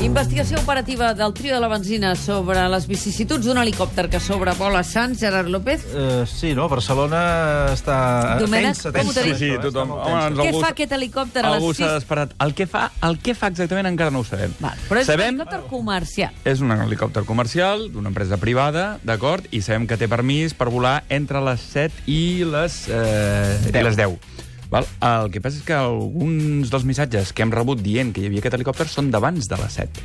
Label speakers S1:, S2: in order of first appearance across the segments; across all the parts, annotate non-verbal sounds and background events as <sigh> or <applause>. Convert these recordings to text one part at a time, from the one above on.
S1: Investigació operativa del trio de la benzina sobre les vicissituds d'un helicòpter que sobrevola Sants, Gerard López.
S2: Uh, sí, no? Barcelona està...
S1: Domènec,
S2: tensa,
S1: com
S2: tensa,
S1: ho tenim?
S2: això,
S3: Sí, sí,
S2: està
S3: tothom.
S2: molt
S3: Home,
S2: tensa.
S3: ens
S1: Què
S3: algú-
S1: fa aquest helicòpter a
S3: Algú
S1: les
S3: s'ha
S1: 6?
S3: desesperat. El que, fa, el que fa exactament encara no ho sabem.
S1: Va, però és
S3: sabem,
S1: un helicòpter comercial.
S3: És un helicòpter comercial d'una empresa privada, d'acord? I sabem que té permís per volar entre les 7 i les, eh, i les 10. Val? El que passa és que alguns dels missatges que hem rebut dient que hi havia aquest helicòpter són d'abans de les 7.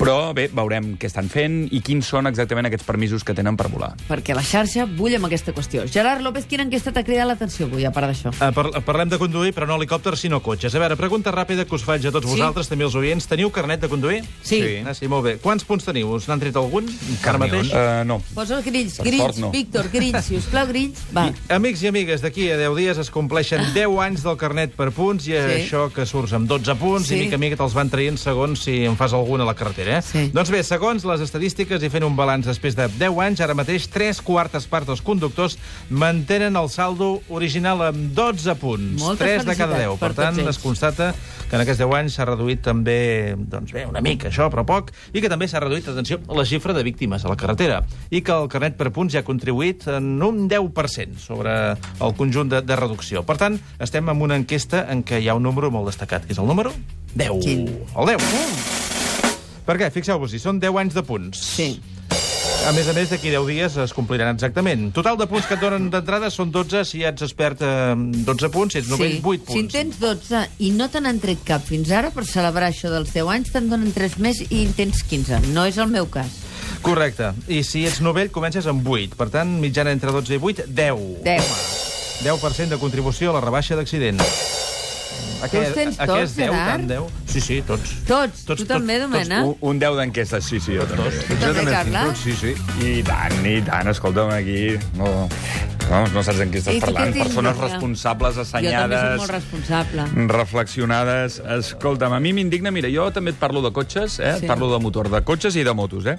S3: Però bé, veurem què estan fent i quins són exactament aquests permisos que tenen per volar.
S1: Perquè la xarxa bull amb aquesta qüestió. Gerard López, quina enquesta t'ha cridat l'atenció avui, a part
S3: Ah.
S1: d'això?
S2: Eh, par- parlem de conduir, però no helicòpter, sinó cotxes. A veure, pregunta ràpida que us faig a tots
S1: Sí.
S2: vosaltres, també els oients. Teniu carnet de conduir?
S1: Sí.
S3: Sí.
S2: Ah, sí, molt bé. Quants punts teniu? Us n'han tret algun? Ara mateix?
S3: Eh, no.
S1: Posa els grills,
S3: Per
S1: grills,
S3: sort, no.
S1: Víctor, grills, si us plau, grills. Va,
S2: Amics i amigues, d'aquí a 10 dies es compleixen 10 anys del carnet per punts i
S1: Ah. Sí.
S2: això que surts amb 12 punts
S1: Sí.
S2: i mica a mica te'ls van traient segons si en fas algun a la carretera. Eh?
S1: Sí.
S2: Doncs bé, segons les estadístiques i fent un balanç després de 10 anys, ara mateix 3 quartes parts dels conductors mantenen el saldo original amb 12 punts.
S1: Moltes
S2: 3 de cada
S1: felicitats per
S2: 10. Per
S1: tots
S2: tant,
S1: ells.
S2: es constata que en aquests 10 anys s'ha reduït també, doncs bé, una mica això, però poc, i que també s'ha reduït, atenció, la xifra de víctimes a la carretera, i que el carnet per punts ja ha contribuït en un 10% sobre el conjunt de, de reducció. Per tant, estem en una enquesta en què hi ha un número molt destacat, que és el número 10.
S1: Quin?
S2: El 10. Per què? Fixeu-vos-hi, són 10 anys de punts.
S1: sí.
S2: A més a més, d'aquí 10 dies es compliran exactament. Total de punts que et donen d'entrada són 12, si ets expert eh, 12 punts, si ets novell
S1: sí.
S2: 8 punts.
S1: Si en tens 12 i no te n'han tret cap fins ara, per celebrar això dels 10 anys, te'n donen 3 més i en tens 15. No és el meu cas.
S2: Correcte. I si ets novell, comences amb 8. Per tant, mitjana entre 12 i 8, 10.
S1: 10.
S2: 10% de contribució a la rebaixa d'accident. A
S1: Tu els tens
S2: a què
S1: tots,
S2: és 10,
S1: Gerard?
S2: tant 10? Sí, sí, tots.
S1: Tots, tu també, Domènec?
S3: Un, un 10 d'enquestes, sí, sí, jo també.
S1: Tu també, Carla?
S3: Sí, sí.
S2: Ah,
S3: I tant, i tant, escolta'm, aquí... No, vamos, no saps en què
S1: I
S3: estàs
S1: tu què
S3: parlant.
S1: tens,
S3: Persones
S1: Maria?
S3: responsables,
S1: Jo també soc
S3: assenyades,
S1: molt responsable.
S3: reflexionades. Escolta'm, a mi m'indigna... Mira, jo també et parlo de cotxes, eh?
S1: Sí.
S3: Sí. Parlo de motor, de cotxes i de motos, eh?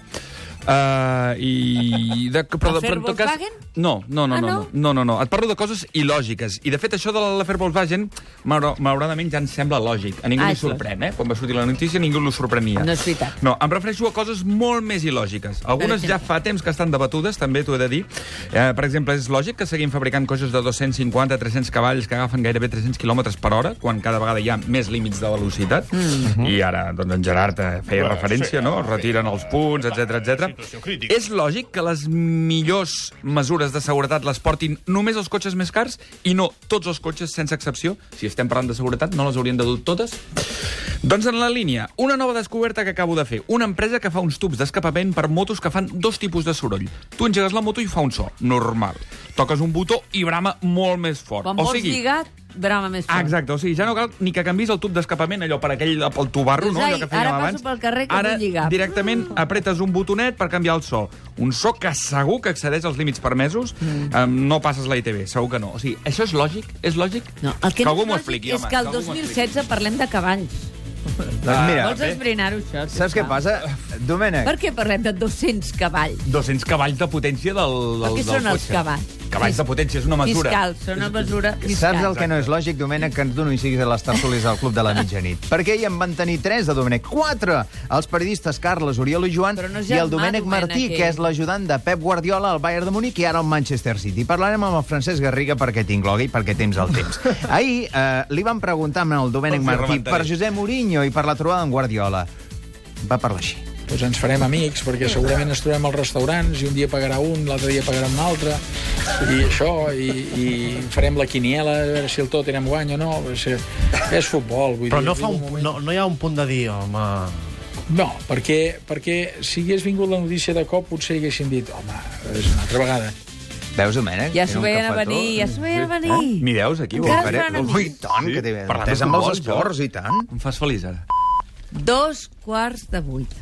S3: Uh, i de, però,
S1: Afer Volkswagen?
S3: no, no, no,
S1: Ah,
S3: no,
S1: no?
S3: no, no, no, no. Et parlo de coses il·lògiques. I, de fet, això de l'afer Volkswagen, maura- malauradament, ja ens sembla lògic. A ningú
S1: Ah,
S3: ah, li
S1: això.
S3: sorprèn, eh? Quan va sortir la notícia, ningú li sorprenia.
S1: No és veritat.
S3: No, em refereixo a coses molt més il·lògiques. Algunes
S1: Per
S3: ja fa temps que estan debatudes, també t'ho he de dir. Eh, per exemple, és lògic que seguim fabricant cotxes de 250 300 cavalls que agafen gairebé 300 km per hora, quan cada vegada hi ha més límits de velocitat. Mm. I ara, doncs, en Gerard eh, feia
S4: Bueno,
S3: referència,
S4: Mhm. sí,
S3: no?
S4: sí.
S3: Retiren els punts, etc
S4: Situació
S3: etc.
S4: crítica.
S3: És lògic que les millors mesures de seguretat les portin només els cotxes més cars i no tots els cotxes, sense excepció. Si estem parlant de seguretat, no les haurien de dur totes? Doncs en la línia, una nova descoberta que acabo de fer. Una empresa que fa uns tubs d'escapament per motos que fan dos tipus de soroll. Tu engegues la moto i fa un so, normal. Toques un botó i brama molt més fort.
S1: Quan
S3: o
S1: vols
S3: sigui,
S1: lligar, brama més fort.
S3: Exacte, o sigui, ja no cal ni que canvis el tub d'escapament, allò per aquell, pel tubarro,
S1: Doncs,
S3: no? Allò
S1: ai,
S3: que fèiem
S1: ara passo
S3: abans.
S1: pel carrer que
S3: ara,
S1: vull lligar. Mm.
S3: directament apretes un botonet per canviar el so. Un so que segur que excedeix els límits permesos. Mm. Um, no passes la ITV, segur que no. O sigui, això és lògic? És lògic?
S1: No, el que,
S3: que algú
S1: no
S3: m'ho
S1: és lògic
S3: expliqui,
S1: és
S3: home,
S1: que el
S3: algú m'ho expliqui.
S1: 2016 parlem de cavalls.
S5: Doncs mira,
S1: Vols esbrinar-ho, això? sisplau?
S5: saps què passa? Domènec,
S1: Per què parlem de 200 cavalls?
S3: 200 cavalls de potència del, del,
S1: El que
S3: del
S1: són els
S3: cotxe.
S1: cavalls?
S3: Cavalls de potència, és una mesura.
S1: Fiscal, són una mesura fiscal.
S5: saps el que no és lògic, Domènec, que ens dono i siguis de les tertúlies del Club de la Mitjanit? <laughs> Per què hi en van tenir tres, de Domènec? Quatre! Els periodistes Carles, Oriol i Joan
S1: Però no és
S5: i
S1: germà,
S5: el Domènec Martí,
S1: Domènec, eh?
S5: que
S1: ell.
S5: és l'ajudant de Pep Guardiola al Bayern de Múnich i ara al Manchester City. Parlarem amb el Francesc Garriga perquè t'inglogui, perquè temps al temps.
S1: <laughs>
S5: Ahir eh, li van preguntar al
S3: Per
S5: Domènec
S3: fer
S5: Martí
S3: comentari.
S5: per Josep Mourinho i per la trobada amb Guardiola. Va parlar així.
S6: doncs ens farem amics, perquè segurament ens trobem als restaurants i un dia pagarà un, l'altre dia pagarà un altre, i això, i, i farem la quiniela, a veure si el tot anem guany o no, si és futbol. Vull
S7: Però
S6: dir,
S7: no, fa
S6: arriba
S7: un,
S6: moment-
S7: no, no hi ha un punt de dir, home...
S6: no, perquè, perquè si hagués vingut la notícia de cop, potser haguessin dit, home, és una altra vegada.
S5: Veus, Domènec?
S1: Ja s'ho
S5: Era un
S1: veien a
S5: cafetó.
S1: venir, ja s'ho veien a venir.
S3: Eh? M'hi deus, aquí?
S1: Encara
S3: Vol-
S1: es fan amics.
S5: Ui, i tant, que té...
S3: Parlant de
S5: T'és amb els
S3: futbol, jo.
S5: esports, i tant.
S3: Em fas feliç, ara.
S1: Dos quarts de vuit.